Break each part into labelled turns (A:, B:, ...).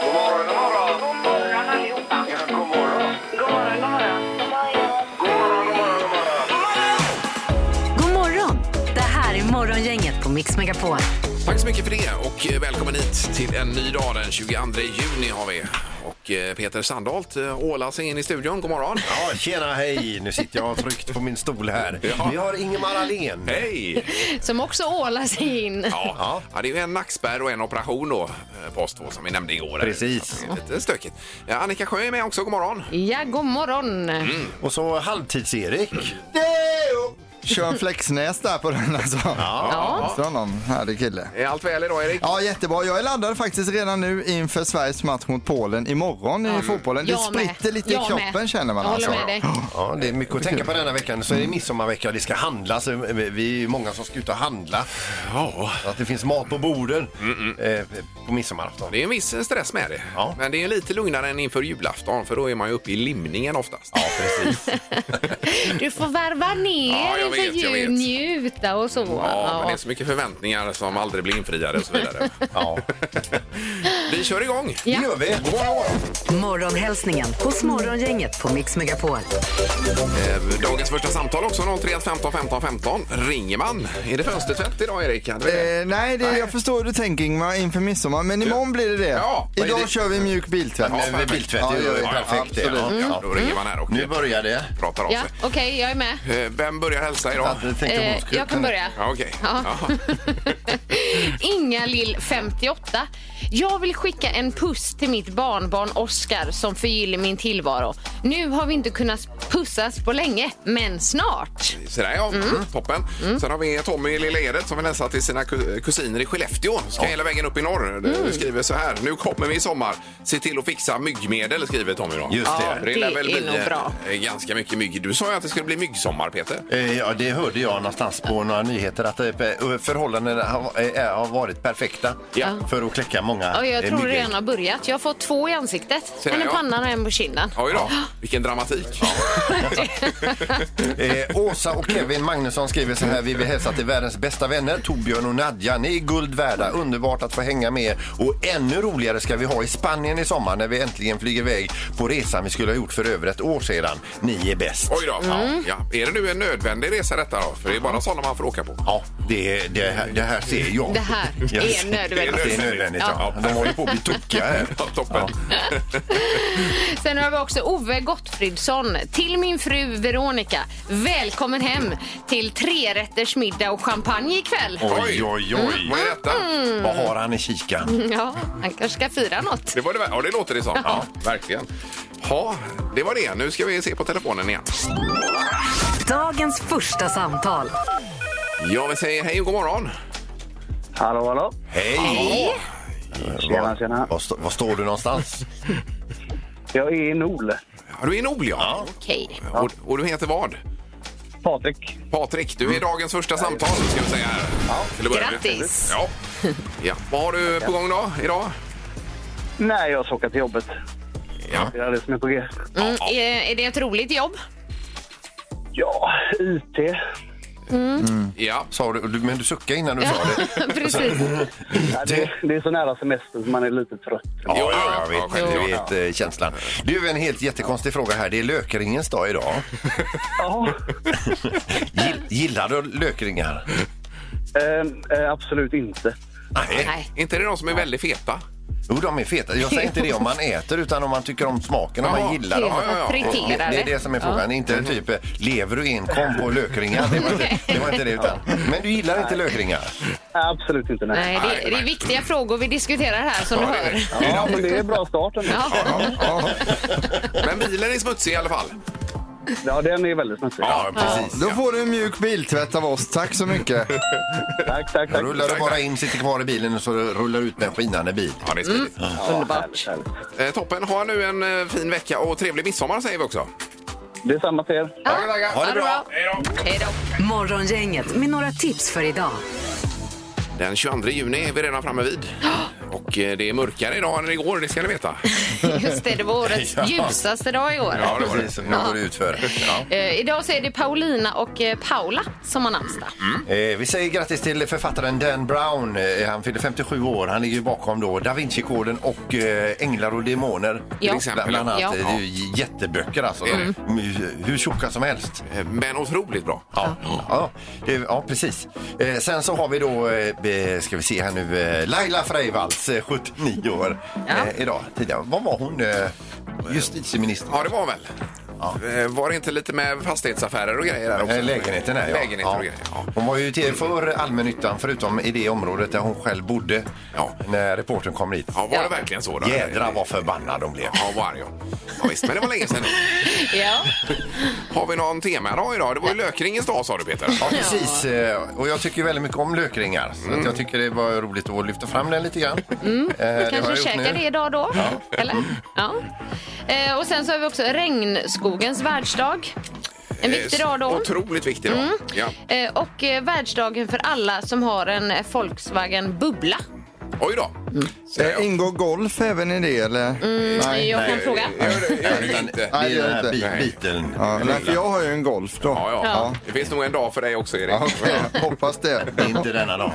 A: God morgon, god morgon.
B: God morgon allihopa.
A: Ja, god morgon.
B: God morgon, god morgon.
A: God morgon, god morgon, god morgon.
C: God morgon! Det här är Morgongänget på Mix Megapol.
D: Tack så mycket för det och eh, välkommen hit till en ny dag den 22 juni har vi. Och eh, Peter Sandholt eh, ålar sig in i studion. God morgon!
E: Ja, tjena, hej! Nu sitter jag tryckt på min stol här.
D: Ja.
E: Vi har Ingemar Ahlén.
D: Hej!
F: Som också ålar sig in.
D: Ja. ja, det är ju en nackspärr och en operation då eh, på oss två som vi nämnde igår.
E: Precis.
D: Så att det är Lite stökigt. Ja, Annika Sjö är med också. God morgon!
F: Ja, god morgon.
D: Mm.
E: Och så halvtids-Erik.
G: Kör flexnäs där på den alltså.
F: Ja.
G: Så någon härlig kille.
D: Är allt väl idag Erik?
G: Ja, jättebra. Jag är laddad faktiskt redan nu inför Sveriges match mot Polen imorgon i fotbollen. Det
F: Jag
G: spritter
F: med.
G: lite
F: Jag
G: i kroppen
F: med.
G: känner man
F: Jag
G: alltså.
F: håller med dig.
E: Ja, det är mycket att tänka på denna veckan. Så är det midsommarvecka och det ska handlas. Vi är ju många som ska ut och handla.
D: Ja.
E: Så att det finns mat på borden eh, på midsommarafton.
D: Det är en viss eh, stress med det.
E: Ja.
D: Men det är lite lugnare än inför julafton för då är man ju uppe i limningen oftast. Ja, precis.
F: Du får värva ner
D: Ja, jag
F: inför
D: vet, jag vet.
F: jul, njuta och så.
D: Ja, men det är
F: Ja.
D: så mycket förväntningar som aldrig blir infriade och så vidare.
E: Ja.
D: Vi kör igång!
E: Det gör vi.
C: Morgonhälsningen hos Morgongänget på Mix Megapol.
D: Eh, Dagens första samtal också, 031 15 15 15. Ringer man? Är det fönstertvätt idag, Erik? Hade vi det?
G: Eh, nej, det, jag förstår hur du tänker Ingmar inför midsommar, men imorgon blir det det.
D: Ja, vad är
G: Idag
D: det?
G: kör vi mjuk biltvätt.
E: Men med Eh, biltvätt är
G: Ja,
E: ju
G: ja, ja,
E: perfekt. det.
G: absolut.
E: Ja,
D: Ja,
E: ja.
D: då ringer man här och
E: Nu börjar det.
D: pratar av
F: ja
D: sig.
F: okej, jag är med.
D: Eh, Vem börjar hälsa idag?
E: Att jag tänkte om hon
F: Eh,
E: skulle
F: jag kan
E: kunna-
F: börja.
D: Ja, Okej.
F: Ja. Inga Lill 58. Jag vill skicka en puss till mitt barnbarn Oscar som förgyller min tillvaro. Nu har vi inte kunnat pussas på länge, men snart.
D: Sådär ja,
F: Mm.
D: Mm, toppen. Sen har vi Tommy i Lilla Edet som vill hälsa till sina ku- kusiner i Skellefteå. Ska hela vägen upp i norr. Du
F: Mm.
D: skriver så här. Nu kommer vi i sommar. Se till att fixa myggmedel, skriver Tommy. Då.
E: Just det.
D: det
F: det
D: lär väl
F: är
D: bli
F: nog
D: eh,
F: bra.
D: ganska mycket mygg. Du sa ju att det skulle bli myggsommar, Peter.
E: Eh, Ja, det hörde jag någonstans på några nyheter att eh, pe- förhållandena har eh, har varit perfekta
D: Ja.
E: för att kläcka många
F: Och jag
E: eh,
F: tror det
E: myggen.
F: redan har börjat. Jag har fått två i ansiktet.
D: där,
F: En i
D: ja.
F: pannan och en på kinden.
D: Oj då, vilken dramatik.
E: Eh, Åsa och Kevin Magnusson skriver så här. Vi vill hälsa till världens bästa vänner Torbjörn och Nadja. Ni är guld värda. Underbart att få hänga med er. Och ännu roligare ska vi ha i Spanien i sommar när vi äntligen flyger iväg på resan vi skulle ha gjort för över ett år sedan. Ni är bäst.
D: Oj då. Ja. Är det nu en nödvändig resa detta då? För det är bara sådana man får åka på.
E: Ja, det, det, här, det här ser jag.
F: Det här
E: Jag
F: är
E: ser
F: nödvändigt.
E: att Det är nödvändigt, ja. De håller på att bli tokiga här.
D: Ja, toppen.
F: Sen har vi också Ove Gottfridsson. Till min fru Veronica. Välkommen hem till trerättersmiddag och champagne ikväll.
E: Oj, oj, oj.
H: Mm.
D: Vad är detta?
E: Vad
F: Mm.
E: har han i kikan?
F: Ja, han kanske ska fira något.
D: Det var det, ja, det låter det som. Ja, verkligen. Ja, det var det. Nu ska vi se på telefonen igen.
C: Dagens första samtal.
D: Ja, vi säger hej och god morgon.
H: Hallå, hallå.
E: Hej!
H: Tjena, tjena.
E: Var, stå- var står du någonstans?
H: Jag är i Nol.
D: Ja, Du är Nol, ja.
F: Okej.
D: Och, och du heter vad?
H: Patrik.
D: Patrik, du är dagens första samtal ska vi säga här. Till att börja med.
F: Grattis.
D: Ja. ja. Vad har du på gång då, idag?
H: Nej, jag ska åka till jobbet.
D: Ja.
H: Det är det som är på G.
F: Mm, är, är det ett roligt jobb?
H: Ja, IT.
D: Ja.
E: Sa du, du- men du suckade innan du sa det.
F: Precis.
H: Ja, det, det är så nära semestern så man är lite trött.
D: Ja, ja,
E: Jag vet,
D: självklart.
E: du vet eh, känslan. Du, en helt jättekonstig fråga här. Det är lökringens dag idag.
H: Jaha.
E: Gill, gillar du lökringar?
H: Eh, eh, absolut inte.
E: Nej.
F: Nej.
D: Inte är det de som är väldigt feta?
E: Jo, de är feta. Jag säger inte det om man äter, utan om man tycker om smaken, om
D: Ja,
E: man gillar dem.
D: ja, ja, ja.
E: Det,
F: Friterade.
E: det är det som är frågan. Inte typ, eh, lever du enkom på lökringar? Det var inte det, var inte det utan. Men du gillar inte lökringar?
H: Eh, absolut inte, nej.
F: Nej, det, det är viktiga frågor vi diskuterar här som du hör.
H: Ja, men det är bra start ändå.
F: Ja.
D: Men bilen är smutsig i alla fall.
H: Ja, den är väldigt smutsig.
D: Ja, precis.
G: Då får du en mjuk biltvätt av oss. Tack så mycket.
H: Tack, tack, tack.
E: Rullar du bara in, sitter kvar i bilen och så rullar ut med en skinande bil.
D: Ja, det är smidigt.
H: Underbart. Härligt, härligt.
D: Eh, toppen. Ha nu en eh, fin vecka och trevlig midsommar säger vi också.
H: Det är samma till er.
D: Tackar, tackar.
E: Ha det bra.
D: Hej då.
F: Hej då.
C: Morgongänget med några tips för idag.
D: Den 22 juni är vi redan framme vid. Och Och eh, det är mörkare idag än igår, det ska ni veta.
F: Just det, det var årets
E: Ja.
F: ljusaste dag i år.
D: Ja, det var det.
E: Precis, nu går det ut för. Ja.
F: Eh, idag så är det Paulina och eh, Paula som har namnsdag.
E: Eh, vi säger grattis till författaren Dan Brown. Eh, han fyller 57 år. Han ligger ju bakom då Da Vinci-koden och eh, Änglar och demoner.
F: Ja.
E: Bland annat.
F: Ja.
E: Det är ju j- jätteböcker alltså.
D: Mm.
E: De är ju Hur tjocka som helst.
D: Eh, Men otroligt bra.
E: Ja, ja, det, ja precis. Eh, sen så har vi då, eh, eh, ska vi se här nu, eh, Laila Freivalds, eh, 79 år eh, idag. Tidigare. Vad var hon? Eh, justitieminister?
D: Ja, det var väl. Eh, Var det inte lite med fastighetsaffärer och grejer där också?
E: Eh, Lägenheten är, ja.
D: Lägenheter
E: ja.
D: och grejer, ja.
E: Hon var ju till för allmännyttan förutom i det området där hon själv bodde
D: Ja.
E: när reportern kom dit.
D: Ja, var
F: Ja.
D: det verkligen så? Då?
E: Jädrar vad förbannad de blev.
D: Ja, var det, ja. ja, visst. Men det var länge sedan.
F: Ja.
D: Har vi någon tema då idag? Det var ju lökringens dag sa du Peter.
E: Ja, precis. Eh, Och jag tycker väldigt mycket om lökringar. Så
D: Mm.
E: att jag tycker det var roligt att lyfta fram den lite grann. Mm. Det har
F: Kanske
E: jag gjort
F: käka
E: nu.
F: det idag då? Eller? Ja. Eh, och sen så har vi också regnskogens världsdag. En viktig
D: Eh,
F: dag då.
D: Otroligt viktig dag. Ja.
F: Eh, och eh, världsdagen för alla som har en eh, Volkswagen Bubbla.
D: Oj då.
E: Mm.
D: Säger
G: Eh,
D: jag.
G: Ingår golf även i det eller?
F: Mm,
G: Nej.
F: jag kan fråga.
D: Gör det, gör det inte.
E: Det
G: Nej, det
E: är den
G: är
E: här
G: inte.
E: bi- biten.
G: Ja, nej, för jag har ju en golf då.
D: Ja, ja.
F: Ja.
D: Det finns nog en dag för dig också Erik.
G: Ja, okej. Hoppas det.
E: Det är Inte denna dag.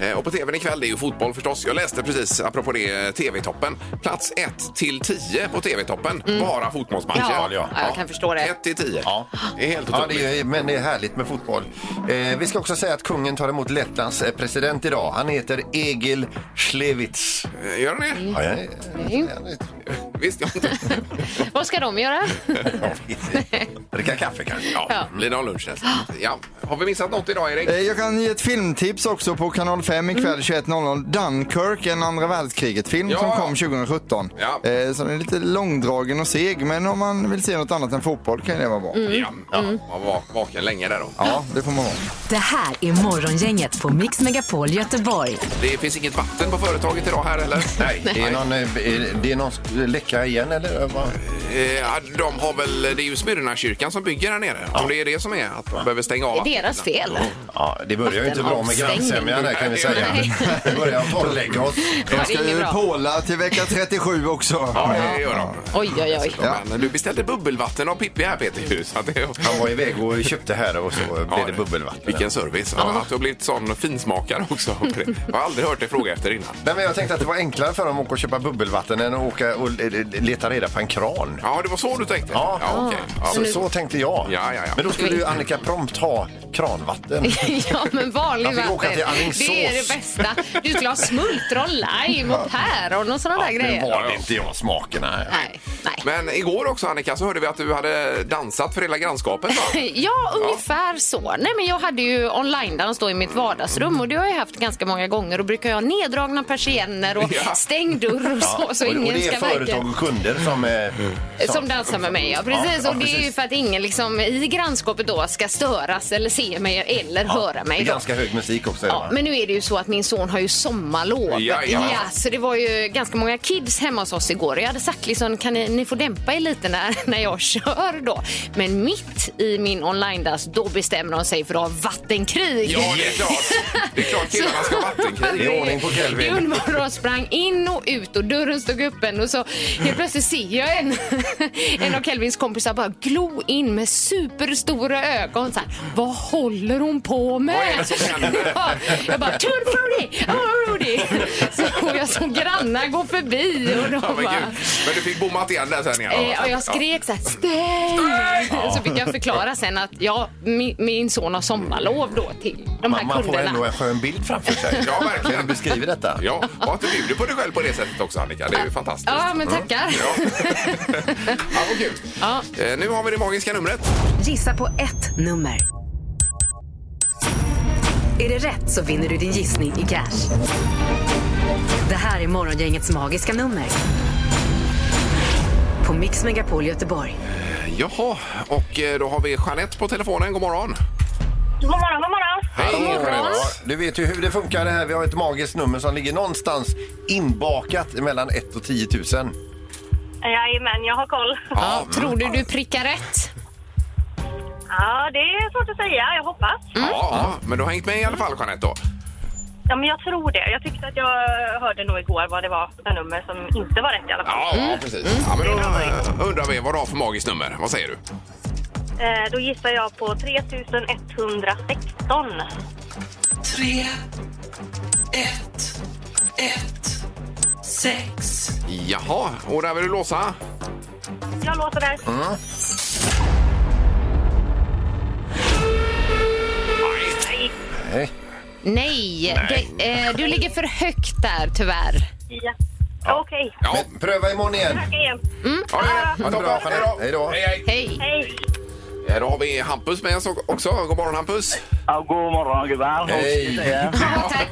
D: Eh, Och på tvn ikväll, det är ju fotboll förstås. Jag läste precis, apropå det, eh, TV-toppen. Plats 1 till 10 på TV-toppen. Bara fotbollsmatcher.
F: Mm. Ja, ja, jag kan förstå det.
D: 1 till 10.
E: Ja.
D: Det är helt
E: Ja,
D: otroligt.
E: det är, men det är härligt med fotboll. Eh, vi ska också säga att kungen tar emot Lettlands eh, president idag. Han heter Egil Schlewitz.
D: Eh, Gör det
F: Mm.
D: det?
E: Ja, jag, jag,
D: Visst, jag inte.
F: Vad ska de göra?
E: Dricka kaffe kanske.
D: Ja,
F: Ja.
D: blir det någon lunch nästa? Ja. Har vi missat något idag Erik?
G: Eh, Jag kan ge ett filmtips också på kanal 5 ikväll 21.00. Dunkirk, en andra världskriget-film
D: Ja.
G: som kom 2017.
D: Ja.
G: Eh, Som är lite långdragen och seg, men om man vill se något annat än fotboll kan det vara bra.
F: Mm.
D: Ja. ja. Man var vaken länge där då.
G: Ja, det får man vara.
C: Det här är Morgongänget på Mix Megapol Göteborg.
D: Det finns inget vatten på företaget idag här eller? Nej.
E: Det är, någon, eh, är det är någon läcka igen eller? vad?
D: Eh, ja, de har väl, det är ju Smyrnakyrkan som bygger här nere. Om det är det som är att de behöver stänga av.
F: Det är deras fel.
E: Ja, det börjar ju inte bra med
F: Vattenavstängning.
E: grannsämjan här kan vi säga.
F: Nej.
E: Vi börjar torrlägga oss.
F: Ja,
G: De
F: det är
G: ska
F: inget
G: ju
F: bra.
G: påla till vecka 37 också.
D: Ja, det gör de.
F: Oj, oj, oj.
D: Ja. Men du beställde bubbelvatten av Pippi här Peter. ju, Så att det,
E: Han var iväg och köpte här och så blev det bubbelvatten.
D: Vilken service. Ja, att du har blivit sån finsmakare också. Jag har aldrig hört dig fråga efter innan.
E: Nej, men jag tänkte att det var enklare för dem att åka och köpa bubbelvatten än att åka och eh, leta reda på en kran.
D: Ja, det var så du tänkte?
E: Ja.
D: ja okej. Ja,
E: Så, så tänkte jag.
D: Ja, ja, ja.
E: Men då skulle ju Annika prompt ha kranvatten.
F: Ja, men
E: Jag
F: vanlig
E: fick åka
F: vatten.
E: till Alingsås.
F: Det är det bästa. Du skulle ha smultron, lime och päron och sådana där
E: Nu
F: grejer.
E: valde inte jag smakerna.
F: Nej, nej.
D: Men igår också Annika så hörde vi att du hade dansat för hela grannskapet va?
F: Ja, ungefär så. Nej, men jag hade ju online-dans då i mitt vardagsrum och det har jag haft ganska många gånger. Då brukar jag ha neddragna persienner och
D: Ja.
F: stängd dörr och så, så
E: och, och
F: ingen
E: det är
F: ska
E: företag
F: verka...
E: och kunder som... eh,
F: Som dansar med mig, ja. Precis.
E: ja,
F: och det är ju
E: precis.
F: för att ingen liksom, i grannskapet då ska störas eller se mig eller höra
E: Det
F: mig.
E: är
F: då.
E: ganska hög musik också.
F: Ja, men nu är det ju så att min son har ju sommarlov.
D: Ja, ja.
F: så det var ju ganska många kids hemma hos oss igår. Jag hade sagt liksom, kan ni, ni får dämpa er lite när, när jag kör då. Men mitt i min online-dass, då bestämmer de sig för att ha vattenkrig.
D: Ja, det är klart. Det är klart killarna ska ha vattenkrig.
E: Det är ordning på Kelvin.
F: Gunvor och sprang in och ut och dörren stod öppen och så helt plötsligt ser jag en, en av Kelvins kompisar bara glo in med superstora ögon. Så här, Vad håller hon på med?
D: Vad är det som händer?
F: Ja, jag bara turn Frody, oh Rudy. Så och jag såg grannar gå förbi och de
D: Ja, men,
F: bara
D: gud. men du fick bommat igen där sen igen.
F: Eh, och jag skrek så här, stäng! Så fick jag förklara sen att ja, min, min son har sommarlov då till de här
E: man, man får
F: kunderna.
E: ändå en skön bild framför sig.
D: Ja,
E: När du
D: verkligen.
E: beskriver detta.
D: Ja, och att du bjuder på dig själv på det sättet också Annika. Det är ju fantastiskt. Mm.
F: Ja, men tackar.
D: Ja, vad kul.
F: Ja.
D: Eh, Nu har vi det magiska numret.
C: Gissa på ett nummer. Är det rätt så vinner du din gissning i cash. Det här är Morgongängets magiska nummer. På Mix Megapol Göteborg.
D: Jaha, och eh, då har vi Jeanette på telefonen. God morgon.
B: God morgon, god morgon.
D: Hej, Jeanette.
E: Ja, du vet ju hur det funkar det här. Vi har ett magiskt nummer som ligger någonstans inbakat mellan 1 och 10 000.
B: Jajamän, jag har koll.
F: Ja, tror du du prickar rätt?
B: Ja, det är svårt att säga. Jag hoppas.
I: Mm.
D: Ja, men du har hängt med i alla fall, Jeanette. Då.
B: Ja, men jag tror det. Jag tyckte att jag hörde nog igår vad det var för nummer som inte var rätt i alla fall.
D: Ja, ja precis. Ja, men då eh, undrar vi vad du har för magiskt nummer. Vad säger du?
B: Eh, då gissar jag på 3116.
J: tre, ett, ett, sex.
D: Jaha, och där vill du låsa?
B: Jag låter där.
I: Mm.
B: Nej.
E: Nej.
F: Nej, Det, eh, du ligger för högt där tyvärr.
B: Ja. Okej.
D: Ja,
E: Men pröva imorgon igen.
B: Tack igen.
D: ja, ja, ja.
E: Ha det bra, Jeanette. Hej då.
D: Hej, hej.
F: Hej.
B: Hej.
D: Eh, Då har vi Hampus med oss också. God morgon Hampus.
H: Ja, god morgon gubbar.
E: Hej.
F: Ja, tack.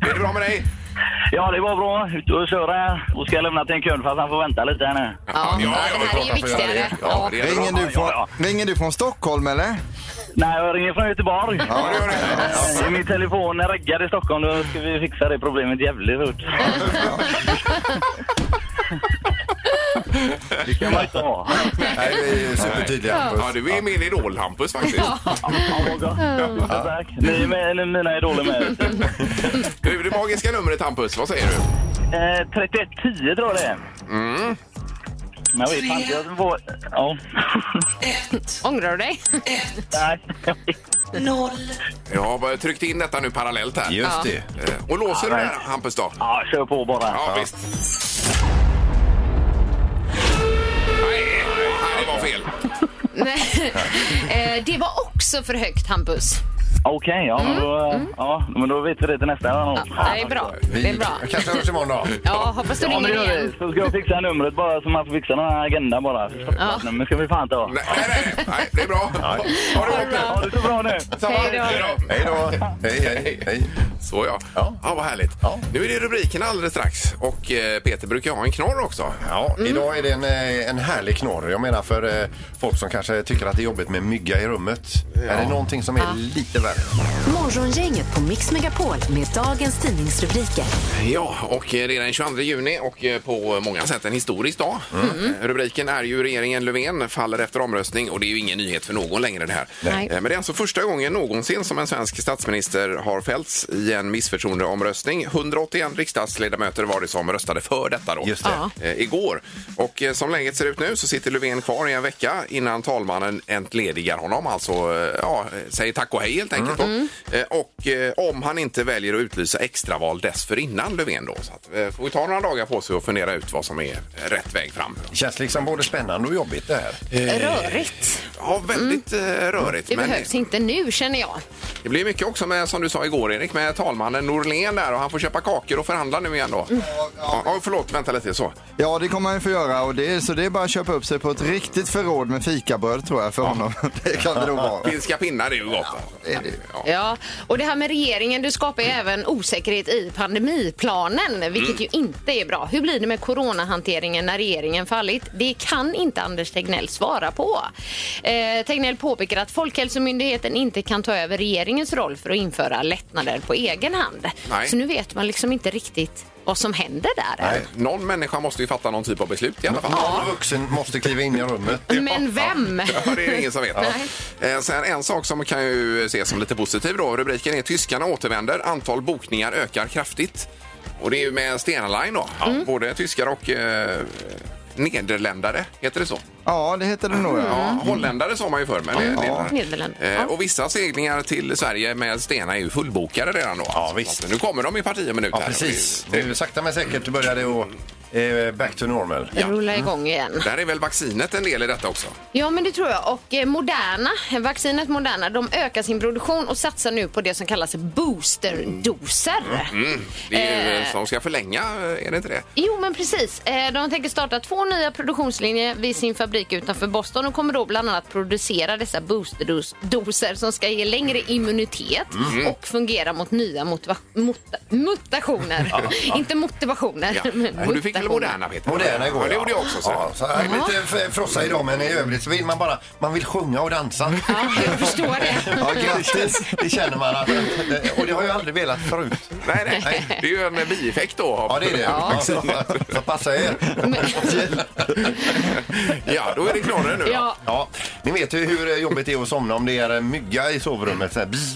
D: Är det bra med dig?
H: Ja, det var bra. Ute och köra. Och ska jag lämna till en kund fast han får vänta lite här nu.
F: Ja, det här är ju
E: klart att jag gör det.
F: viktigare.
D: Ja,
F: Ja.
D: det är
G: Ringer
D: bra.
G: du, från,
H: ja,
G: ringer du från Stockholm eller?
H: Nej, jag ringer från Göteborg.
D: Ja, det gör det.
H: Ja, Min telefon är reggad i Stockholm. Då ska vi fixa det problemet jävligt fort. Det kan man inte ha.
E: Nej, vi är supertydliga.
D: Ja, du är min idol Hampus faktiskt.
H: Ja, vad gott. Tusen Tack. Ni är med, ni, mina idoler med.
D: Du, det magiska numret Hampus, vad säger du?
H: Eh, 3110 tror jag det är. Mm. Men jag vet fan inte. Jag var... Ja.
F: Ångrar du dig?
H: Nej.
D: Jag har bara tryckt in detta nu parallellt här.
E: Just det.
D: Eh, Och låser du det här Hampus då?
H: Ja, kör på bara.
D: Ja, visst. Nej, nej, det var fel.
F: Nej. Eh, det var också för högt Hampus.
H: Okej, ja, men då, ja, men då vet vi det till nästa gång.
F: Ja, det är bra. Det är bra.
E: Vi kanske hörs imorgon då.
F: Ja, hoppas du
H: Ja, men
F: ringer
H: gör
F: igen.
H: det. Så ska jag fixa numret bara, så man får fixa den här agendan bara.
F: Ja.
H: Men ska vi fan ta.
D: Nej, nej, nej, nej det är bra. Ha det gott
H: Ha det så bra nu!
D: nu.
F: Hej då.
E: Hej då. Hej, hej, hej.
D: Så ja. ja.
E: Ja.
D: Vad härligt.
E: Ja.
D: Nu är det rubriken alldeles strax. Och eh, Peter brukar ha en knorr också.
E: Ja,
F: Mm.
E: idag är det en, eh, en härlig knorr. Jag menar för eh, folk som kanske tycker att det är jobbigt med mygga i rummet. Är det någonting som är lite värre?
C: Morgongänget på Mix Megapol med dagens tidningsrubriker.
D: Ja, och eh, det är den 22 juni och eh, på många sätt en historisk dag. Eh, Rubriken är ju regeringen Löfven faller efter omröstning och det är ju ingen nyhet för någon längre det här.
F: Nej.
D: Eh, Men det är alltså första gången någonsin som en svensk statsminister har fällts i en missförtroendeomröstning. 181 riksdagsledamöter var det som röstade för detta då.
E: Just det.
F: Ja.
D: eh, igår. Och eh, som läget ser ut nu så sitter Löfven kvar i en vecka innan talmannen entledigar honom. Alltså eh, ja, säger tack och hej helt enkelt. Då. Eh, Och eh, om han inte väljer att utlysa extraval dessförinnan Löfven då. Så att, eh, får vi ta några dagar på sig och fundera ut vad som är rätt väg fram.
E: Känns liksom både spännande och jobbigt det här.
F: Rörigt.
D: Ja, väldigt eh, rörigt.
F: Det
D: men
F: behövs inte nu känner jag.
D: det blir mycket också med, som du sa igår Erik, med talmannen Norlén där och han får köpa kakor och förhandla nu igen då. Ja, ja, förlåt, vänta lite så.
G: Ja, det kommer han ju få göra. Och det, är- så det är bara att köpa upp sig på ett riktigt förråd med fikabröd tror jag för honom. Det kan det nog vara.
D: Finska pinnar är ju gott.
G: är det ju.
D: Ja.
F: Ja, och det här med regeringen, du skapar
D: Mm.
F: ju även osäkerhet i pandemiplanen, vilket ju inte är bra. Hur blir det med coronahanteringen när regeringen fallit? Det kan inte Anders Tegnell svara på. Eh, Tegnell påpekar att Folkhälsomyndigheten inte kan ta över regeringens roll för att införa lättnader på egen hand.
D: Nej.
F: Så nu vet man liksom inte riktigt vad som händer där.
D: Nej, Någon människa måste ju fatta någon typ av beslut i alla fall.
E: Någon vuxen måste kliva in i rummet.
F: Men vem?
D: Ja, det är det ingen som vet. Eh, Sen en sak som kan ju ses som lite positiv då. Rubriken är Tyskarna återvänder. Antal bokningar ökar kraftigt. Och det är ju med Stena Line då.
E: Mm.
D: Både tyskar och eh, nederländare, heter det så?
G: Ja, det heter det nog. Ja.
E: Mm.
D: Ja, holländare sa man ju förr. Men det, det,
F: Nederländerna.
D: Eh,
F: Ja.
D: och vissa seglingar till Sverige med Stena är ju fullbokade redan då.
E: Ja, visst.
D: Så Nu kommer de i parti och minut
E: Ja,
D: här.
E: precis. Nu sakta men säkert börjar det att eh, back to normal.
F: Rulla igång igen.
D: Där är väl vaccinet en del i detta också?
F: Ja, men det tror jag. Och eh, Moderna, vaccinet Moderna, de ökar sin produktion och satsar nu på det som kallas boosterdoser.
D: Mm. Det är ju,
F: Eh.
D: som ska förlänga, eh, är det inte det?
F: Jo, men precis. Eh, De tänker starta två nya produktionslinjer vid sin fabrik utanför Boston och kommer då bland annat producera dessa boosterdoser som ska ge längre immunitet
D: Mm.
F: och fungera mot nya motiva- mut- mutationer. Inte motivationer,
D: Ja.
F: men
D: Och du fick till
F: stationer.
D: Moderna Peter.
E: Moderna igår
D: ja. Det gjorde jag också. Så. Mm.
E: Ja, så jag är lite f- frossa idag men i övrigt så vill man bara, man vill sjunga och dansa.
F: Ja, jag förstår det.
E: Ja, grattis! Det känner man att, eh, och det har jag aldrig velat förut.
D: Nej, nej, Det är ju en bieffekt då. av-
E: Ja, det är det. Ja. Så passa er.
D: ja, då är det knorren nu. då.
F: Ja,
E: Ja, ni vet ju hur jobbigt det är att somna om det är en mygga i sovrummet. Så här, bzz,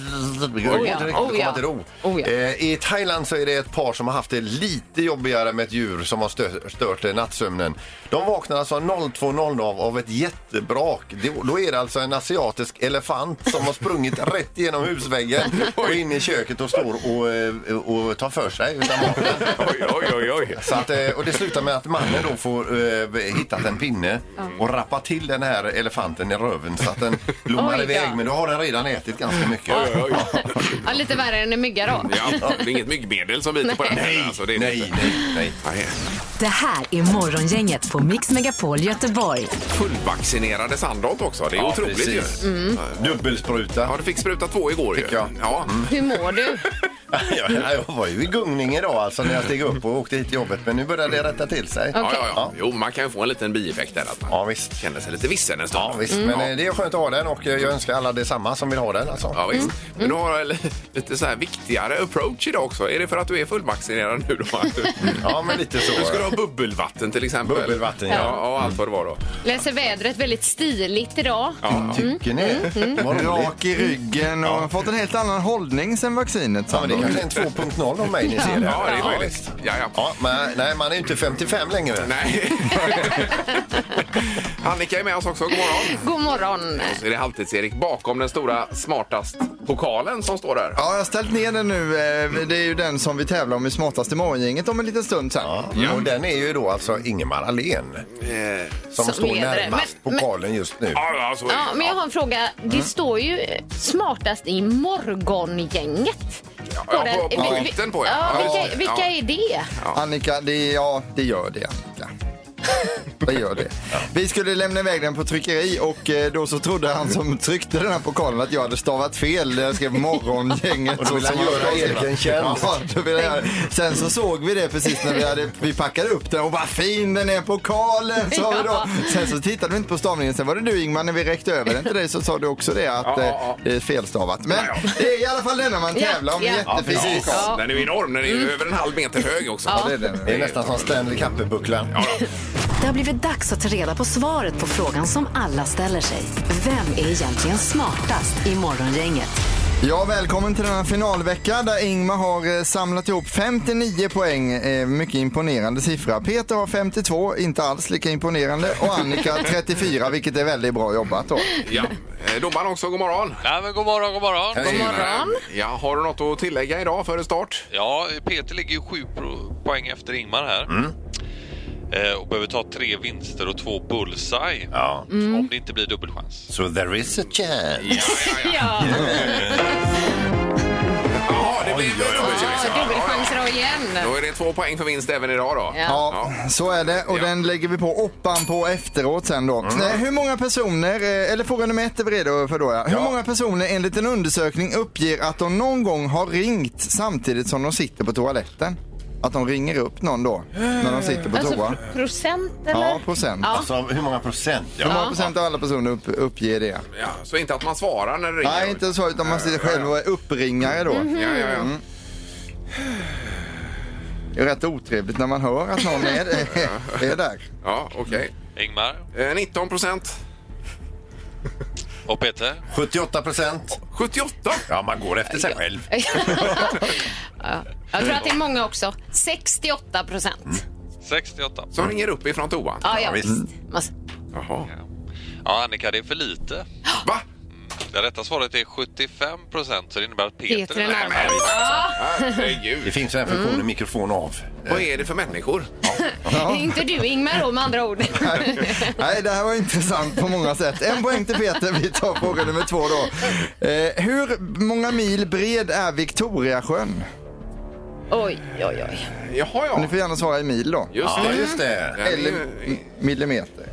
E: det går
F: Oh ja,
E: inte riktigt
F: oh
E: att
F: ja.
E: komma till ro.
F: Oh ja.
E: Eh, I Thailand så är det ett par som har haft det lite jobbigare med ett djur som har stö- stört eh, nattsömnen. De vaknar alltså 02.00 av, av ett jättebrak. Det, då är det alltså en asiatisk elefant som har sprungit rätt genom husväggen och in i köket och står och, eh, och tar för sig. Utan maten.
D: Oj, oj, oj, oj.
E: Så att, eh, och det slutar med att mannen då får eh, hittat en pinne och rappa till den här elefanten i röven så att den blommar
F: Oj,
E: iväg.
F: ja.
E: Men då har den redan ätit ganska mycket.
D: Oj, oj, oj.
F: ja lite värre än en mygga då.
D: Ja, det är inget myggmedel som biter på den.
E: Nej,
D: alltså, det är det
E: nej,
D: inte.
E: nej, nej.
D: Nej.
C: Det här är Morgongänget på Mix Megapol Göteborg.
D: Fullvaccinerade Sandholt också. Det är otroligt
E: precis.
D: ju. Mm. Ja,
E: Dubbelspruta.
D: du fick spruta två igår
E: Fick
D: ju.
E: jag. Mm.
D: Ja.
F: Hur mår du?
E: Ja, jag var ju i gungning idag alltså när jag steg upp och åkte hit till jobbet. Men nu börjar det rätta till sig.
D: Ja, ja, ja. Jo, man kan ju få en liten bieffekt där. Att man
E: Ja, visst.
D: känner sig lite vissen en stund. Mm.
E: Ja, visst. Men eh, det är skönt att ha den och eh, jag önskar alla detsamma som vill ha den alltså.
D: Ja,
F: Mm.
D: visst. Men du har en lite så här viktigare approach idag också. Är det för att du är fullvaccinerad nu då? Att du-
E: Ja, men lite så.
D: Du ska ha bubbelvatten till exempel.
E: Bubbelvatten, ja.
D: Ja, Mm. och allt vad det var då.
F: Läser vädret väldigt stiligt idag.
D: Ja,
E: Tycker
D: Mm,
E: ni? Vad roligt.
G: Rak i ryggen och fått en helt annan hållning sen vaccinet.
E: Ja, men det
G: Sandor.
E: kanske är en 2.0 om mig ni ser det.
D: ja det är möjligt. Ja, ja.
E: Ja, men, nej, man är inte 55 längre.
D: Nej. Annika är med oss också. God morgon.
F: God morgon.
D: Så är det Halvtids-Erik bakom den stora smartast-pokalen som står där.
G: Ja, jag har ställt ner den nu. Eh, Det är ju den som vi tävlar om i smartaste morgongänget om en liten stund sen.
E: Ja. Mm. Och den är ju då alltså Ingemar Ahlén
D: Eh,
E: som,
F: Som
E: står
F: ledare.
E: närmast
F: Men- men-
E: pokalen just nu.
D: Ja, ja, Mm. så är det.
F: Ja, men jag har en fråga. Det står ju eh, smartast i morgongänget.
D: Ja, ja, på- på
F: Vi- vi-
D: skylten på, ja.
F: ja.
D: Ja,
F: Vilka,
D: just det.
F: vilka
D: Ja.
F: är det?
G: Annika, det, ja, det gör det. Annika. Det gör det. Vi skulle lämna iväg den på tryckeri och eh, då så trodde han som tryckte den här pokalen att jag hade stavat fel. Jag skrev morgongänget.
E: Och då vill han
G: som
E: göra Erik en tjänst.
G: Ja, då vill jag. Sen så såg vi det precis när vi, hade, vi packade upp den och vad fin den är pokalen sa vi då.
F: Ja.
G: Sen så tittade vi inte på stavningen. Sen var det du Ingmar när vi räckte över den till dig så sa du också det att
D: Ja, ja,
G: eh,
D: ja.
G: det är felstavat. Men
D: Ja, ja.
G: det är i alla fall denna man
F: Ja,
G: tävlar om.
F: ja.
G: Jättefin
F: Ja,
G: pokal.
F: Ja. Mm.
D: Den är ju enorm. Den är ju över en halv meter hög också.
G: Ja, det är den.
E: Det är nästan som Stanley Kappe-bucklan.
C: Det har blivit dags att ta reda på svaret på frågan som alla ställer sig. Vem är egentligen smartast i Morgongänget?
G: Ja, välkommen till denna finalvecka där Ingmar har eh, samlat ihop 59 poäng. Eh, mycket imponerande siffra. Peter har 52, inte alls lika imponerande. Och Annika 34, vilket är väldigt bra jobbat då.
D: Ja. Eh, Domaren också, god morgon.
I: Ja, men god morgon, god morgon.
D: God
F: morgon.
D: Ja, har du något att tillägga idag före start?
I: Ja, Peter ligger ju sju pro- poäng efter Ingmar här. Eh, och behöver ta tre vinster och två bullseye. Mm.
E: Ja.
B: Mm.
I: Om det inte blir dubbelchans.
E: So there is a chance.
F: Ja,
D: Jaha, det blir
E: Oj, oj, oj.
D: dubbelchans.
F: ja dubbelchanser då igen.
D: Då är det två poäng för vinst även idag då.
F: Ja.
G: Ja, så är det. Och
D: Ja.
G: den lägger vi på åttan på efteråt sen då. Eh, Hur många personer, eh, eller fråga nummer ett är vi redo för då ja. Hur många personer enligt en undersökning uppger att de någon gång har ringt samtidigt som de sitter på toaletten? Att de ringer upp någon då, när de sitter på toa?
F: Alltså procent eller?
G: Ja, procent.
F: Ja.
E: Alltså, hur många procent? Ja.
G: Hur många procent av alla personer upp, uppger det?
D: Ja, så inte att man svarar när det ringer?
G: Nej, inte så, utan man sitter själv och är uppringare då.
D: Mhm.
G: Mm.
D: Ja, ja, ja.
G: Det är rätt otrevligt när man hör att någon är, är där.
D: ja okej.
I: Ingmar
D: Eh, 19 procent.
I: och Peter.
E: 78 procent.
D: 78?
E: Ja, man går efter sig själv.
F: Ja. Jag tror att det är många också. 68 procent.
I: 68.
D: Som ringer upp ifrån toan?
F: Ja, ja.
E: visst.
F: Mas-
D: Jaha.
I: Ja, Annika, det är för lite.
D: Va?
I: Det rätta svaret är 75 procent, så det innebär att Peter,
F: Peter är
I: närmast.
F: närmare.
E: Det
D: Herregud.
E: finns ju en funktion i mikrofon av. Eh,
D: Vad är det för människor?
F: Det är Inte du Ingmar då med andra ord.
G: Nej, det här var intressant på många sätt. En poäng till Peter. Vi tar fråga nummer två då. Eh, hur många mil bred är Victoriasjön?
F: Oj, oj, oj.
D: Jaha, ja.
G: Ni får gärna svara i mil då.
D: Just
E: Ja,
D: det.
E: just det.
D: Den är
G: Eller
D: ju-
G: m- millimeter.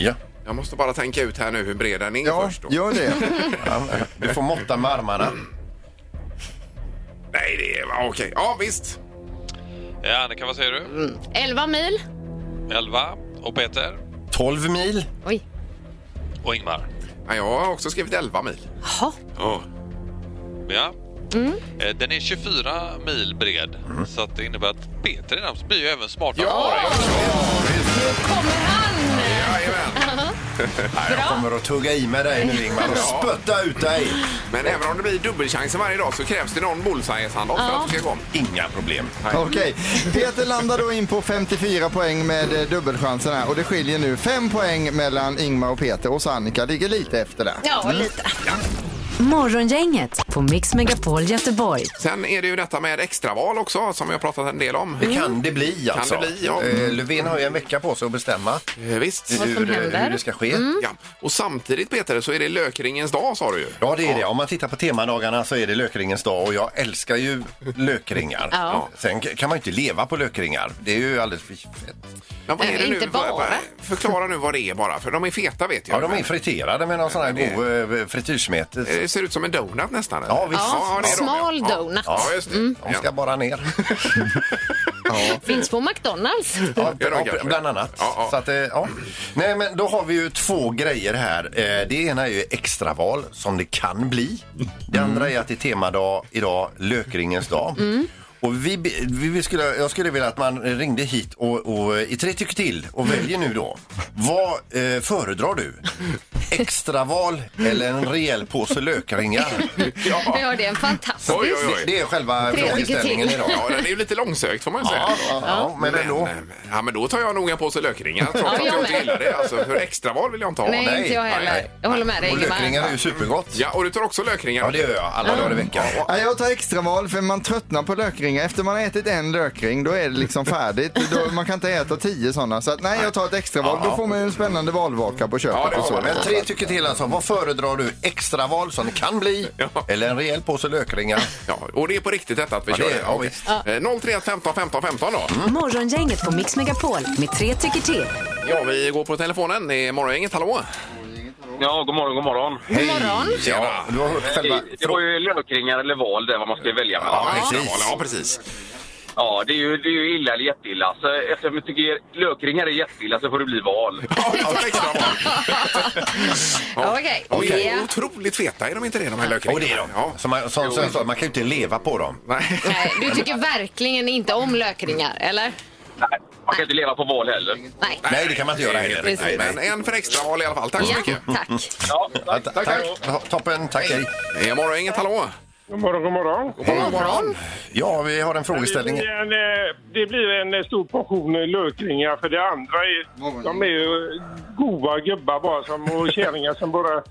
E: Ja.
D: Jag måste bara tänka ut här nu hur bred den är
G: Ja,
D: först. Då.
G: gör det.
E: Ja, Du får måtta med armarna.
D: Nej, Nej, det är... Okej, ja visst.
I: Eh, Annika, vad säger du?
F: 11 mil.
I: 11. Och Peter?
E: 12 mil.
F: Oj.
I: Och Ingmar?
D: Ja, jag har också skrivit 11 mil.
F: Jaha.
D: Ja.
I: Ja.
F: Mm.
I: Eh, Den är 24 mil bred, så att det innebär att Peter i namnet blir ju även smartare.
D: Ja,
F: Kommer han?
D: Jajamän.
E: Jag kommer att tugga i med dig nu Ingmar och
D: Ja.
E: spötta ut dig.
D: Men även om det blir dubbelchanser varje dag så krävs det någon bullseye-handoff för att det ska gå.
E: Inga problem.
G: Okej, Peter landar då in på 54 poäng med eh, dubbelchansen här och det skiljer nu 5 poäng mellan Ingmar och Peter och så Annika ligger lite efter där. Mm.
F: Ja, lite.
C: Morgongänget på Mix Megapol Göteborg.
D: Sen är det ju detta med extraval också som vi har pratat en del om.
F: Mm.
E: Det kan det bli alltså.
D: det bli, ja.
E: Eh, Löfven har ju en vecka på sig att bestämma
D: Eh, Visst.
F: Vad som
E: hur,
F: händer.
E: hur det ska ske.
D: Ja. Och samtidigt Peter så är det lökringens dag sa du ju.
E: Ja, det är det. Om man tittar på temadagarna så är det lökringens dag och jag älskar ju lökringar.
F: Ja.
E: Sen kan man ju inte leva på lökringar. Det är ju alldeles för fett.
D: Men vad är
F: Eh,
D: det
F: inte
D: nu? Vad-
F: bara.
D: vad- Förklara nu vad det är bara, för de är feta vet jag.
E: Ja, de är friterade med någon sån här
D: det-
E: god eh, frityrsmet.
D: Det ser ut som en donut nästan. eller?
E: Ja, visst.
F: Ja,
D: det är de,
F: smal
D: ja.
F: donut. Mm.
D: Ja, just det.
E: De ska
D: Ja.
E: bara ner.
F: Finns på McDonalds.
E: Ja,
D: Ja, de kanske.
E: bland annat.
D: Ja, ja.
E: Så att, eh, ja. Nej, men då har vi ju två grejer här. Eh, Det ena är ju extraval, som det kan bli. Det andra är att det är temadag idag, lökringens dag. Och vi, be- vi vi skulle, jag skulle vilja att man ringde hit och, och i tre tycker till och väljer nu då. Vad eh, föredrar du? Extraval eller en rejäl påse lökringar?
D: Ja.
F: Ja, det är en fantastisk.
D: Oj, oj,
E: Det-
D: oj.
E: Det är själva
F: Tre tycker
E: frågeställningen
F: till.
E: idag.
D: Ja, den är ju lite långsökt får man ju säga.
E: Ja, ja, ja, men ändå.
D: Men, eh, ja, men då tar jag nog en påse lökringar trots
F: Ja,
D: att jag
F: jag
D: inte
F: med.
D: gillar det. Alltså, för extraval vill jag inte ha.
F: Nej,
E: nej,
F: inte jag
E: nej,
F: heller.
E: nej.
F: Jag håller med dig,
E: Och lökringar är ju supergott.
D: Ja, och du tar också lökringar?
E: Ja, det gör jag. Alla dagar i veckan.
G: Ja, jag tar extraval för man tröttnar på lökringar. Efter man har ätit en lökring då är det liksom färdigt. Då, man kan inte äta tio sådana. Så att, nej, jag tar ett extraval. Då får man ju en spännande valvaka på köpet.
D: Ja, det
G: och
D: har
G: så.
D: man.
E: Men tre tycker till alltså. Vad föredrar du? Extraval som det kan bli
D: Ja.
E: eller en rejäl påse lökringar?
D: Ja, och det är på riktigt detta att vi
E: Ja,
D: kör
E: det är- ja,
D: Okej.
E: visst.
D: Eh, 031 15 15 15 då.
C: Mm. Morgongänget på Mix Megapol med tre tycker till.
D: Ja, vi går på telefonen. Det är morgongänget, hallå?
H: Ja, god morgon, god morgon.
F: God morgon.
D: Tjena!
E: Du har hört själva...
H: Det var ju lökringar eller val där vad man ska välja mellan.
D: Ja,
H: Ja,
D: precis. Ja, precis.
H: det, är ju, det är ju illa eller jätteilla. Så eftersom jag tycker lökringar är jätteilla så får det bli val.
D: Ja, vi tar extraval.
F: Okej.
D: Och de är
F: Ja.
D: otroligt feta, är de inte det, de här
E: Och
D: lökringarna?
E: det är de.
D: Ja.
E: Som, man- som, som jag sa, man kan ju inte leva på dem.
D: Nej.
F: Nej, du tycker verkligen inte om lökringar, eller?
H: Nej, man kan inte leva på val heller.
F: Nej.
E: Nej, det kan man inte göra heller.
F: Precis.
E: Nej, nej.
D: Men en för extraval i alla fall. Tack så mycket.
F: Ja, tack.
H: Ja,
E: Ja, ta- Tack. Ja, Toppen, tack. Hej.
D: Det är morgongänget, hallå?
A: God morgon, god morgon.
D: God morgon, morgon.
E: Ja, vi har en
A: Det
E: frågeställning.
A: blir en, eh, det blir en eh, stor portion eh, lökringar för det andra är, de är ju eh, goa gubbar bara som, och kärringar som bara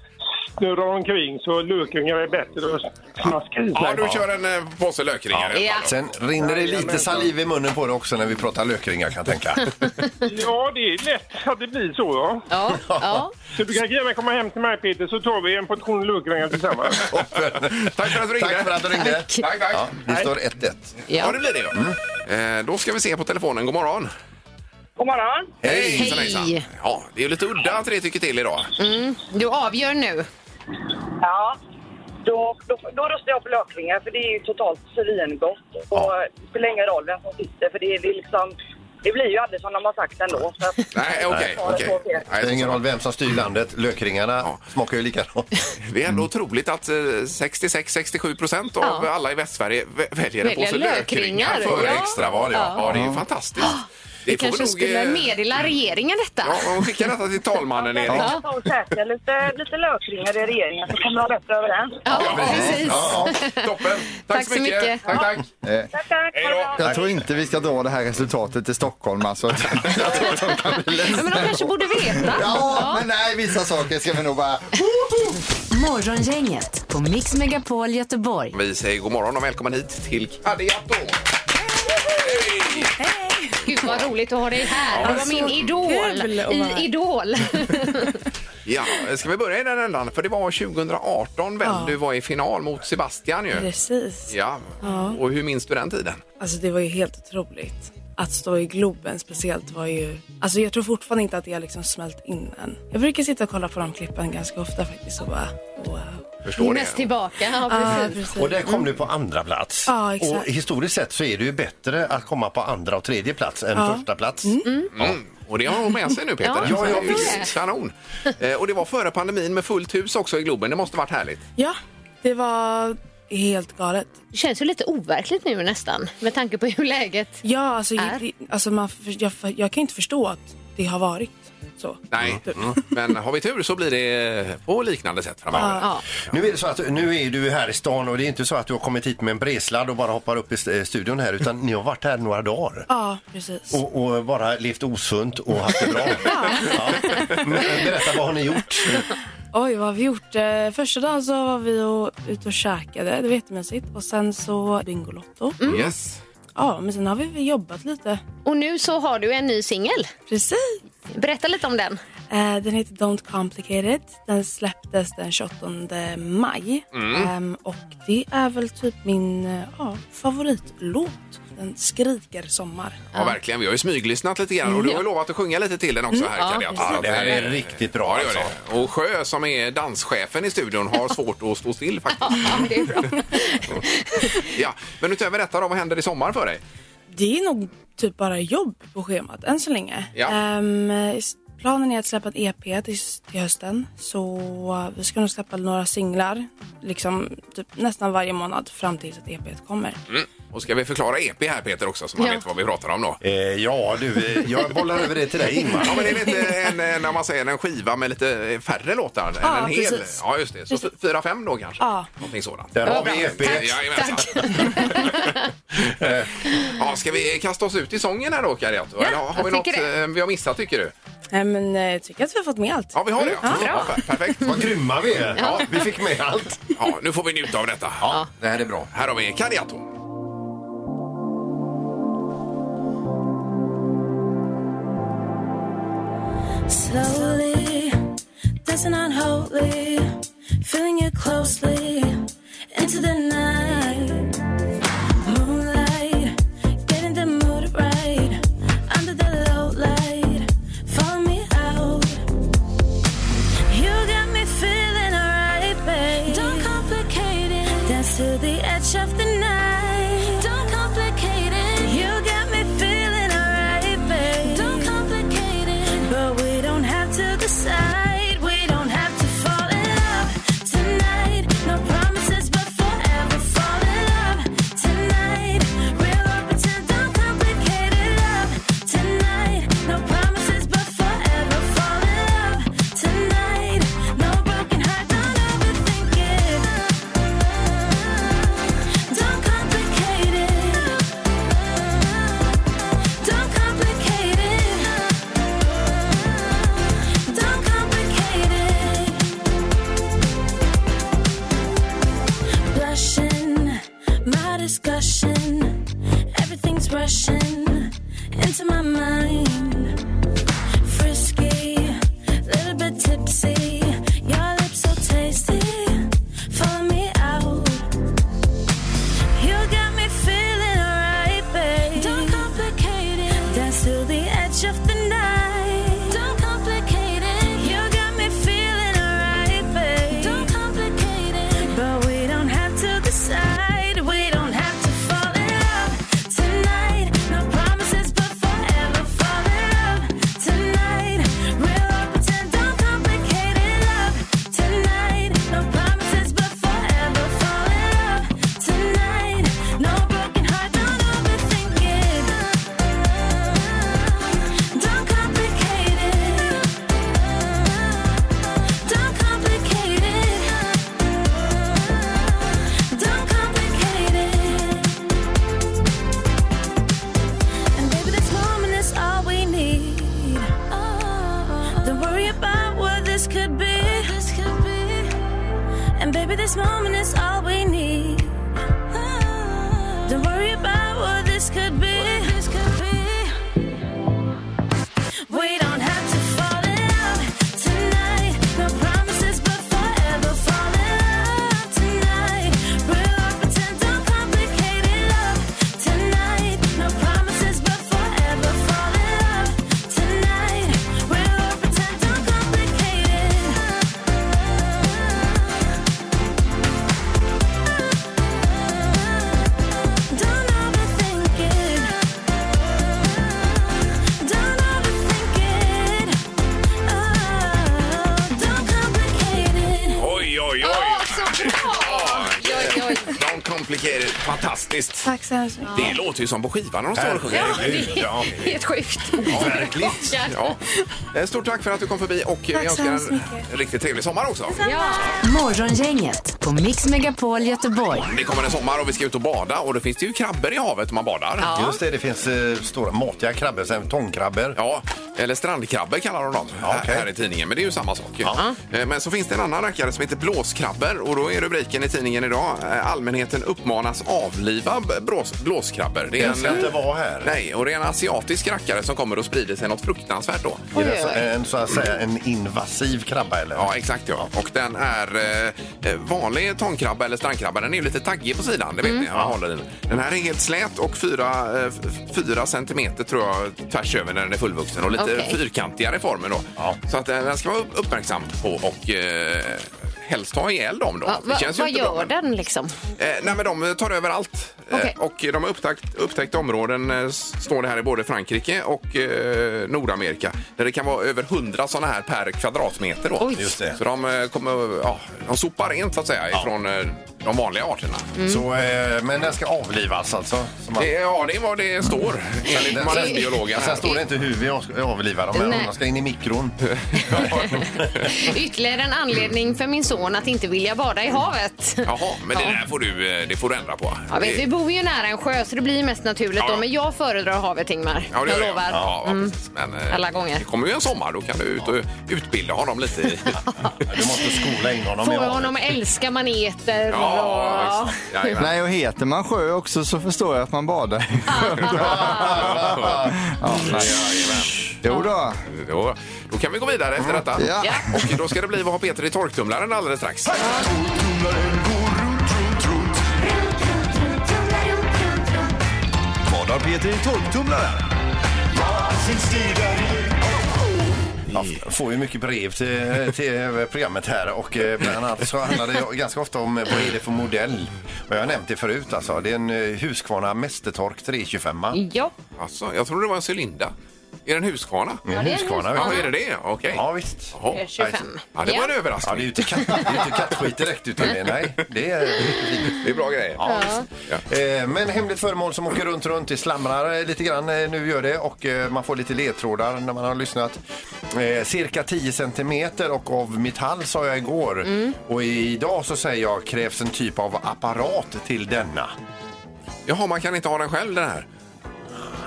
A: snurrar omkring så lökringar är bättre att smaska i sig.
D: Ja, du kör en eh, påse lökringar.
F: Ja.
E: Sen rinner det lite saliv i munnen på det också när vi pratar lökringar kan jag tänka.
A: Ja, det är lätt att det blir så ja.
F: Ja, ja.
A: Så du kan gärna komma hem till mig Peter så tar vi en portion lökringar tillsammans.
D: Tack för att du ringde.
E: Tack för att du ringde.
D: Tack, tack.
E: Ja,
D: Ja,
E: det står 1-1.
F: ja.
D: det blir det. ja. Eh, Då ska vi se på telefonen. God morgon.
B: God morgon.
E: Hej!
D: Hejsan, hejsan. Ja, det är ju lite udda tre tycker till idag.
F: Du avgör nu.
B: Ja. Då, då, då röstar jag på lökringar för det är ju totalt svingott. Och det spelar ingen roll vem som sitter för det, är- det är liksom... Det blir ju aldrig som de har sagt ändå. Så att,
D: Nej, okej.
B: Ja, det
D: okej.
B: får vi.
E: Det
D: Nej,
E: är ingen roll vem som styr landet. Lökringarna smakar ju likadant.
D: Det är ändå otroligt att eh, 66-67 procent av
F: Ja.
D: alla i Västsverige vä- väljer en
F: Välja
D: påse lökringar
F: lökringar,
D: före
F: ja.
D: extraval. Ja.
F: Ja.
D: Ja. det är ju fantastiskt. Det
F: Vi kanske
D: nog,
F: skulle
D: eh,
F: meddela regeringen detta.
D: Ja, man skickar detta till talmannen, Erik.
F: Ja.
B: Jag tar och käkar lite, lite lökringar i regeringen så kommer jag bättre överens.
F: Ja, precis.
D: Ja, ja. Toppen. Tack, så mycket. Tack, tack.
B: Tack, tack.
D: Hej då.
G: Jag tror inte vi ska dra det här resultatet till Stockholm alltså. Jag tror att de kan bli
F: Ja,
G: ledsna.
F: men de kanske borde veta.
G: Ja, men nej, vissa saker ska vi nog bara...
C: Morgongänget på Mix Megapol Göteborg.
D: Vi säger god morgon och välkommen hit till Kadiato.
F: Gud vad roligt att ha dig här. Du var min idol
J: kul att vara här.
F: i Idol.
D: Ja, ska vi börja i den ändan? För det var 2018 väl
J: Ja.
D: du var i final mot Sebastian ju.
J: Precis.
D: Ja.
J: Ja.
D: Och hur minns du den tiden?
J: Alltså det var ju helt otroligt. Att stå i Globen speciellt var ju... Alltså jag tror fortfarande inte att det har liksom smält in än. Jag brukar sitta och kolla på de klippen ganska ofta faktiskt och bara wow.
D: förstår det.
F: Näst tillbaka, ja
J: Ja,
F: precis.
J: precis.
E: Och där kom du på andra plats.
J: Ja, exakt.
E: och historiskt sett så är det ju bättre att komma på andra och tredje plats än första plats.
D: Mm. Och det har hon med sig nu Peter.
F: Ja,
E: ja,
D: Det är ju
E: visst.
D: Kanon. Eh, Och det var före pandemin med fullt hus också i Globen. Det måste varit härligt.
J: Ja, det var helt galet.
F: Det känns ju lite overkligt nu nästan med tanke på hur läget
J: Ja, alltså,
F: Är?
J: det, alltså man, jag, jag kan inte förstå att det har varit så.
D: Nej, Mm.
J: Typ.
D: men har vi tur så blir det eh, på liknande sätt framöver.
F: ja.
E: Nu är det så att nu är du här i stan och det är inte så att du har kommit hit med en bresladd och bara hoppar upp i st- eh, studion här utan ni har varit här några dagar.
J: Ja, precis.
E: Och, och bara levt osunt och haft det bra. Ja. Men Berätta, vad har ni gjort?
J: Oj, vad har vi gjort? Eh, Första dagen så var vi och, ute och käkade, det var jättemysigt. Och sen så Bingolotto.
D: Yes.
J: Ja, men sen har vi väl jobbat lite.
F: Och nu så har du en ny singel.
J: Precis.
F: Berätta lite om den.
J: Eh, Den heter Don't Complicated. Den släpptes den 28 maj. Ehm, och det är väl typ min eh, ja, favoritlåt. Den skriker sommar.
D: Ja, verkligen. Vi har ju smyglyssnat lite grann och du har ju lovat att sjunga lite till den också här
F: Ja,
D: Kalle.
F: precis.
D: Ja,
E: Det här är riktigt bra
D: Ja, det gör
E: alltså.
D: det. Och Sjö som är danschefen i studion har svårt att stå still faktiskt.
F: Ja, det är bra.
D: Ja, men utöver detta då, vad händer i sommar för dig?
J: Det är nog typ bara jobb på schemat än så länge.
D: Ja.
J: Ehm, s- planen är att släppa ett EP till, s- till hösten. Så eh, vi ska nog släppa några singlar. Liksom typ nästan varje månad fram tills att EPet kommer.
D: Och ska vi förklara EP här Peter också så man
F: Ja.
D: vet vad vi pratar om då?
E: Eh, ja, du, eh, jag bollar över det till dig Ingmar.
D: Ja, men det är lite en, eh, när man säger en skiva med lite färre låtar än
J: Ja,
D: en hel.
J: precis.
D: Ja, just det. Så f- fyra, fem då kanske?
J: Ja.
D: Någonting sådant.
E: Där har vi E EP.
D: Jajamensan. ja, ska vi kasta oss ut i sången här då, Kariato? Eller har
F: jag
D: vi något
F: tycker det.
D: eh, vi har missat tycker du?
J: Nej, men eh, jag tycker att vi har fått med allt.
D: Ja, vi har det. Ja,
F: bra.
D: per- perfekt.
E: Vad grymma vi är. Ja, vi fick med allt.
D: Ja, nu får vi njuta av detta.
E: Ja, det här är bra.
D: Här har vi Kariato.
J: Slowly, dancing unholy, feeling you closely into the night. Moonlight, getting the mood right. Under the low light, follow me out. You got me feeling alright, babe. Don't complicate it. Dance to the edge of the night. Don't complicate it. You got me feeling alright, babe. Don't complicate it. But we don't have to decide. We don't have to fall in love tonight. No promises, but forever fall in love tonight. Real or pretend, don't complicate it. Love tonight. No promises, but forever fall in love tonight. No broken heart, don't overthink it. Don't complicate it. Don't complicate it. Don't complicate it. Blushing, my discussion. Everything's rushing into my mind. Frisky, little bit tipsy. Your lips so tasty. Follow me out. You got me feeling alright, babe. Don't complicate it. Dance to the edge of the night. Don't complicate it. You got me feeling alright, babe. Don't complicate it. But we don't have to decide. We don't have to fall in love tonight. No promises, but forever fall in
D: Non-complicated. Fantastiskt.
J: Tack så hemskt mycket.
D: Det låter ju som på skivan när de står och sjunger.
F: Ja, det är helt sjukt.
D: Verkligt. Ja. Eh, Stort tack för att du kom förbi och eh, vi
J: så
D: önskar
J: hemskt
D: en
J: mycket.
D: riktigt trevlig sommar också.
C: Morgongänget på Mix Megapol Göteborg.
D: Det kommer en sommar och vi ska ut och bada och då finns det ju krabbor i havet om man badar. Ja.
E: Just det, det finns eh, stora matiga krabbor, sen tångkrabbor.
D: eller strandkrabbor kallar de dem här-
E: okej.
D: här i tidningen, men det är ju samma sak. Eh, Men så finns det en annan rackare som heter blåskrabbor och då är rubriken i tidningen idag eh, allmänheten uppmanas avliva b- blås, blåskrabbor. Det är
E: Den ska inte vara här.
D: Nej, och det är en asiatisk rackare som kommer och sprider sig något fruktansvärt då.
E: Är det så, en, så att säga, en invasiv krabba eller?
D: Ja, exakt ja. Och den är eh, eh, vanlig tångkrabba eller strandkrabba. Den är ju lite taggig på sidan, det vet
F: Mm.
D: ni. Jag håller den. den här är helt slät och fyra, eh, f- fyra centimeter tror jag tvärs över när den är fullvuxen och lite
F: Okej.
D: fyrkantigare i formen då.
E: Ja.
D: Så att eh, den ska man vara uppmärksam på och eh, helst ha ihjäl dem då.
F: Va,
D: det
F: va,
D: känns ju
F: vad
D: inte
F: gör
D: bra, men-
F: den liksom?
D: Eh, nej, men de tar över allt. Eh,
F: Okej.
D: och de har upptäckt, upptäckt områden, eh, s- står det här i både Frankrike och eh, Nordamerika, där det kan vara över 100 sådana här per kvadratmeter. Då.
F: Oj. Just
E: det.
D: Så de, eh, kommer, ja, de sopar rent så att säga ifrån eh, de vanliga arterna.
E: Så, eh, men den ska avlivas alltså? Så man,
D: Det, ja, det är vad det står
G: Mm.
D: enligt marinbiologen.
E: Sen står det inte hur vi avs- avlivar dem, men
F: Nej.
E: de ska in i mikron.
F: Ytterligare en anledning för min son att inte vilja bada i havet.
D: Jaha, men det
F: Ja.
D: där får du, eh, det får du ändra på.
F: Ja, typ vet,
D: Det-
F: vi bor ju nära en sjö så det blir ju mest naturligt
D: Ja.
F: då. Men jag föredrar havet Ingmar.
D: Ja, det
F: jag
D: gör
F: lovar.
D: Ja, ja,
F: Mm.
D: precis. Men, eh,
F: Alla gånger.
D: Det kommer ju en sommar, då kan du ut och utbilda honom lite. i-
E: Du måste skola in honom
F: Får
E: i
F: jag
E: havet.
F: honom att älska maneter.
D: Ja,
F: och...
D: visst. Jajamän.
G: Nej, och heter man sjö också så förstår jag att man badar i sjön. ja, nej. Jo då.
D: Då, då kan vi gå vidare efter detta.
G: Ja. Ja.
D: Och då ska det bli Vad har Peter i torktumlaren alldeles strax.
K: Vad har Peter i torktumlaren?
E: Ja, f- får ju mycket brev till, till programmet här och eh, bland annat så handlar det ganska ofta om eh, vad är det för modell. Och jag har nämnt det förut alltså. Det är en eh, Husqvarna Mästertork 325.
F: Ja.
D: Alltså, jag trodde det var en cylinda. Är det en Husqvarna?
E: En Husqvarna.
D: Ja,
E: vet du.
D: är det det? Okej.
E: Ja, visst.
D: Jaha.
F: 25.
D: Ja, det var en
E: Ja, det är
D: överraskning.
E: ju inte katt- det är ju inte kattskit direkt utan det, nej. Det är
D: Det är bra grejer.
E: Ja, visst. Eh, Men hemligt föremål som åker runt, runt, det slamrar eh, lite grann eh, nu gör det och eh, man får lite ledtrådar när man har lyssnat. Eh, Cirka 10 centimeter och av metall sa jag igår och idag så säger jag krävs en typ av apparat till denna.
D: Jaha, man kan inte ha den själv den här?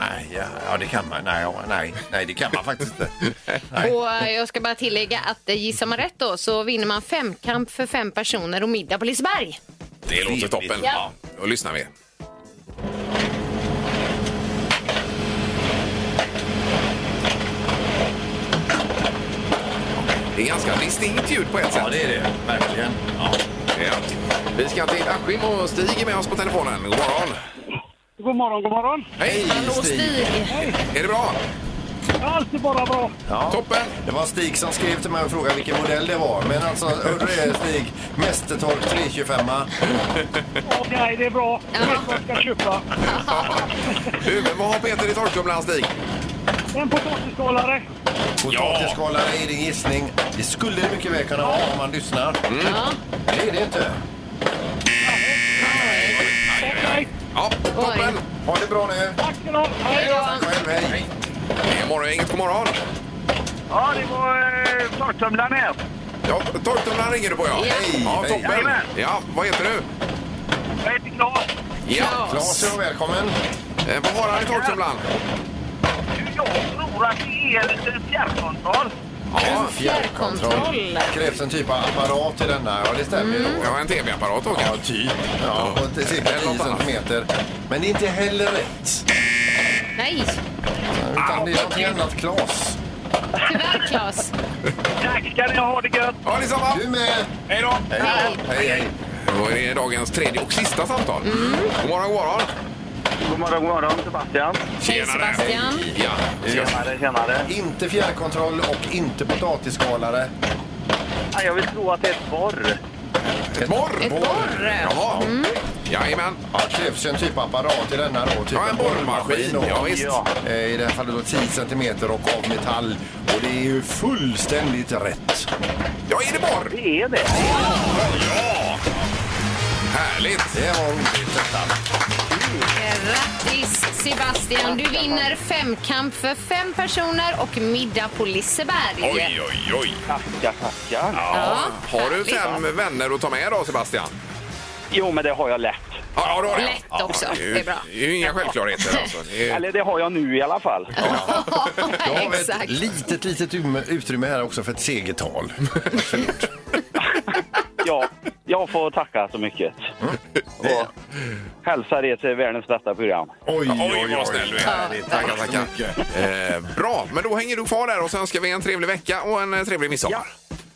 E: Nej, ja, ja det kan man. Nej, ja, nej, nej, det kan man faktiskt inte. Nej.
F: Och eh, jag ska bara tillägga att eh, gissar man rätt då så vinner man femkamp för fem personer och middag på Liseberg.
D: Det låter toppen. Ja.
F: Ja.
D: Då lyssnar vi. Det är ganska distinkt ljud på ett sätt.
E: Ja, det är det. Verkligen. Ja.
D: Ja. Vi ska till Askim och Stig är med oss på telefonen. God morgon!
H: God morgon, god morgon.
D: Hej
F: Och Stig.
D: Är det bra?
H: Allt är bara bra.
E: Ja.
D: Toppen!
E: Det var Stig som skrev till mig och frågade vilken modell det var. Men alltså, hörde du det Stig? Mästertork 325.
H: Okej, det är bra. Jag vet vad jag ska köpa.
D: Du, vad har Peter i torktumlaren Stig?
H: En potatisskalare.
E: Potatisskalare är din gissning. Det skulle det mycket väl kunna vara om man lyssnar.
D: Mm.
E: Det är det inte.
H: Okej,
D: Ja, toppen!
E: Ha det bra nu.
H: tack ska ni ha. Hej då.
E: Tack själv. Hej.
D: Det är morgongänget, god morgon!
H: Ja, det var eh, torktumlaren här.
D: Ja, torktumlaren ringer du på ja.
E: Hej.
D: Ja,
E: Hej.
D: toppen!
H: Jajamän.
D: Ja, vad heter du?
H: Jag heter Claes.
D: Ja.
E: Claes, ja, välkommen.
D: Eh, vad har han i torktumlaren?
H: Jag tror att det är lite fjärrkontroll.
D: Ja,
F: Fjärrkontroll.
E: Krävs en typ av apparat i denna. Ja, det stämmer ju då.
D: jag har en tv-apparat då
E: Ja,
D: kanske.
E: typ. Ja, och det är cirka
D: Eller något
E: 10 centimeter. Men det är inte heller rätt.
F: Nej,
E: Utan det är någonting annat, Claes.
F: tyvärr Claes.
H: Tack ska ni ha, det gött.
D: Ja, detsamma!
E: Du med.
D: Hej då!
E: Hej. Hej, hej.
D: Då är det dagens tredje och sista samtal.
F: Mm.
D: God morgon, god morgon!
H: God morgon, god morgon Sebastian.
F: Hej Sebastian.
D: Ja, ska-
H: Tjenare, tjenare.
E: Inte fjärrkontroll och inte potatisskalare.
H: Ja, jag vill tro att det är ett borr.
D: ett borr!
F: Ett borr. Mm.
D: Jaha, jajamän.
E: Ja, det krävs ju en typ av apparat i denna då. Typ
D: Ja, en borrmaskin.
E: då.
D: Ja, visst.
H: Ja.
E: Eh, I det här fallet då 10 centimeter och av metall. Och det är ju fullständigt rätt.
D: Ja, är det borr?
H: Det är det.
D: Här härligt!
E: Det var roligt detta.
F: Grattis Sebastian! Du vinner femkamp för fem personer och middag på Liseberg.
D: Oj, oj, oj!
H: Tackar, tackar.
D: Ja. Har du fem vänner att ta med då, Sebastian?
H: Jo, men det har jag lätt.
D: Ja, ja, då har jag.
F: Lätt
D: Ja,
F: också.
D: det är ju-
F: Det är bra.
D: Det är ju inga självklarheter. Alltså. Det är,
H: Eller det har jag nu i alla fall.
E: Då har vi ett
F: Exakt.
E: litet, litet um- utrymme här också för ett segertal.
H: Ja, jag får tacka så mycket. Och hälsar er till världens bästa program.
E: Oj,
D: oj, vad snäll du är. Tackar, tackar. Eh, bra, men då hänger du kvar där och så önskar vi en trevlig vecka och en eh, trevlig midsommar.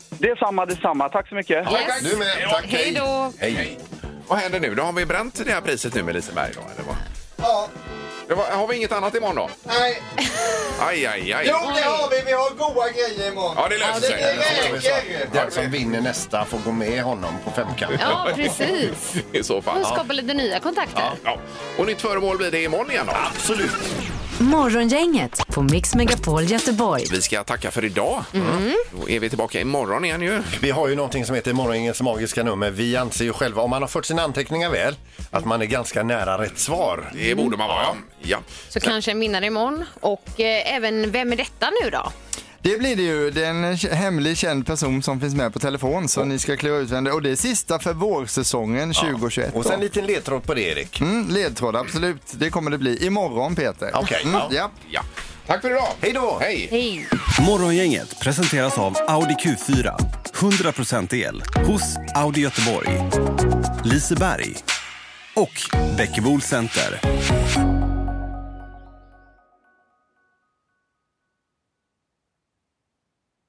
H: Det är samma, det är samma. Tack så mycket.
F: Yes.
E: Du med. Tack,
F: Hej då.
E: Hej.
D: Vad händer nu? Då har vi bränt det här priset nu med Liseberg då, eller vad? Det var, har vi inget annat imorgon då?
G: Nej,
D: Aj, aj, aj.
G: jo det har vi. Vi har goda grejer imorgon.
D: Ja, det löser sig.
G: räcker.
E: Den som vinner nästa får gå med honom på femkampen.
F: Ja, precis.
D: I så fall.
F: Och skapa lite nya kontakter.
D: Ja. Och nytt föremål blir det imorgon igen då.
L: Morgongänget på Mix Megapol Göteborg.
D: Vi ska tacka för idag. Då är vi tillbaka imorgon igen ju.
E: Vi har ju någonting som heter Morgongängets magiska nummer. Vi anser ju själva, om man har fört sina anteckningar väl, att man är ganska nära rätt svar.
D: Det borde man vara, ja. ja.
F: Så kanske en vinnare imorgon. Och eh, även Vem är detta nu då?
G: Det blir det ju. Det är en k- hemlig känd person som finns med på telefon så ni ska klura ut vem det är. Och det är sista för vårsäsongen 2021.
E: Och
G: då.
E: sen en liten ledtråd på det, Erik.
G: Mm, ledtråd, absolut. Det kommer det bli imorgon Peter.
E: Okej,
G: Mm,
E: ja.
G: ja.
D: ja. Tack för idag.
E: Hej då!
D: Hej.
F: Hej.
M: Morgongänget presenteras av Audi Q4. 100% el hos Audi Göteborg, Liseberg och Bäckebol Center.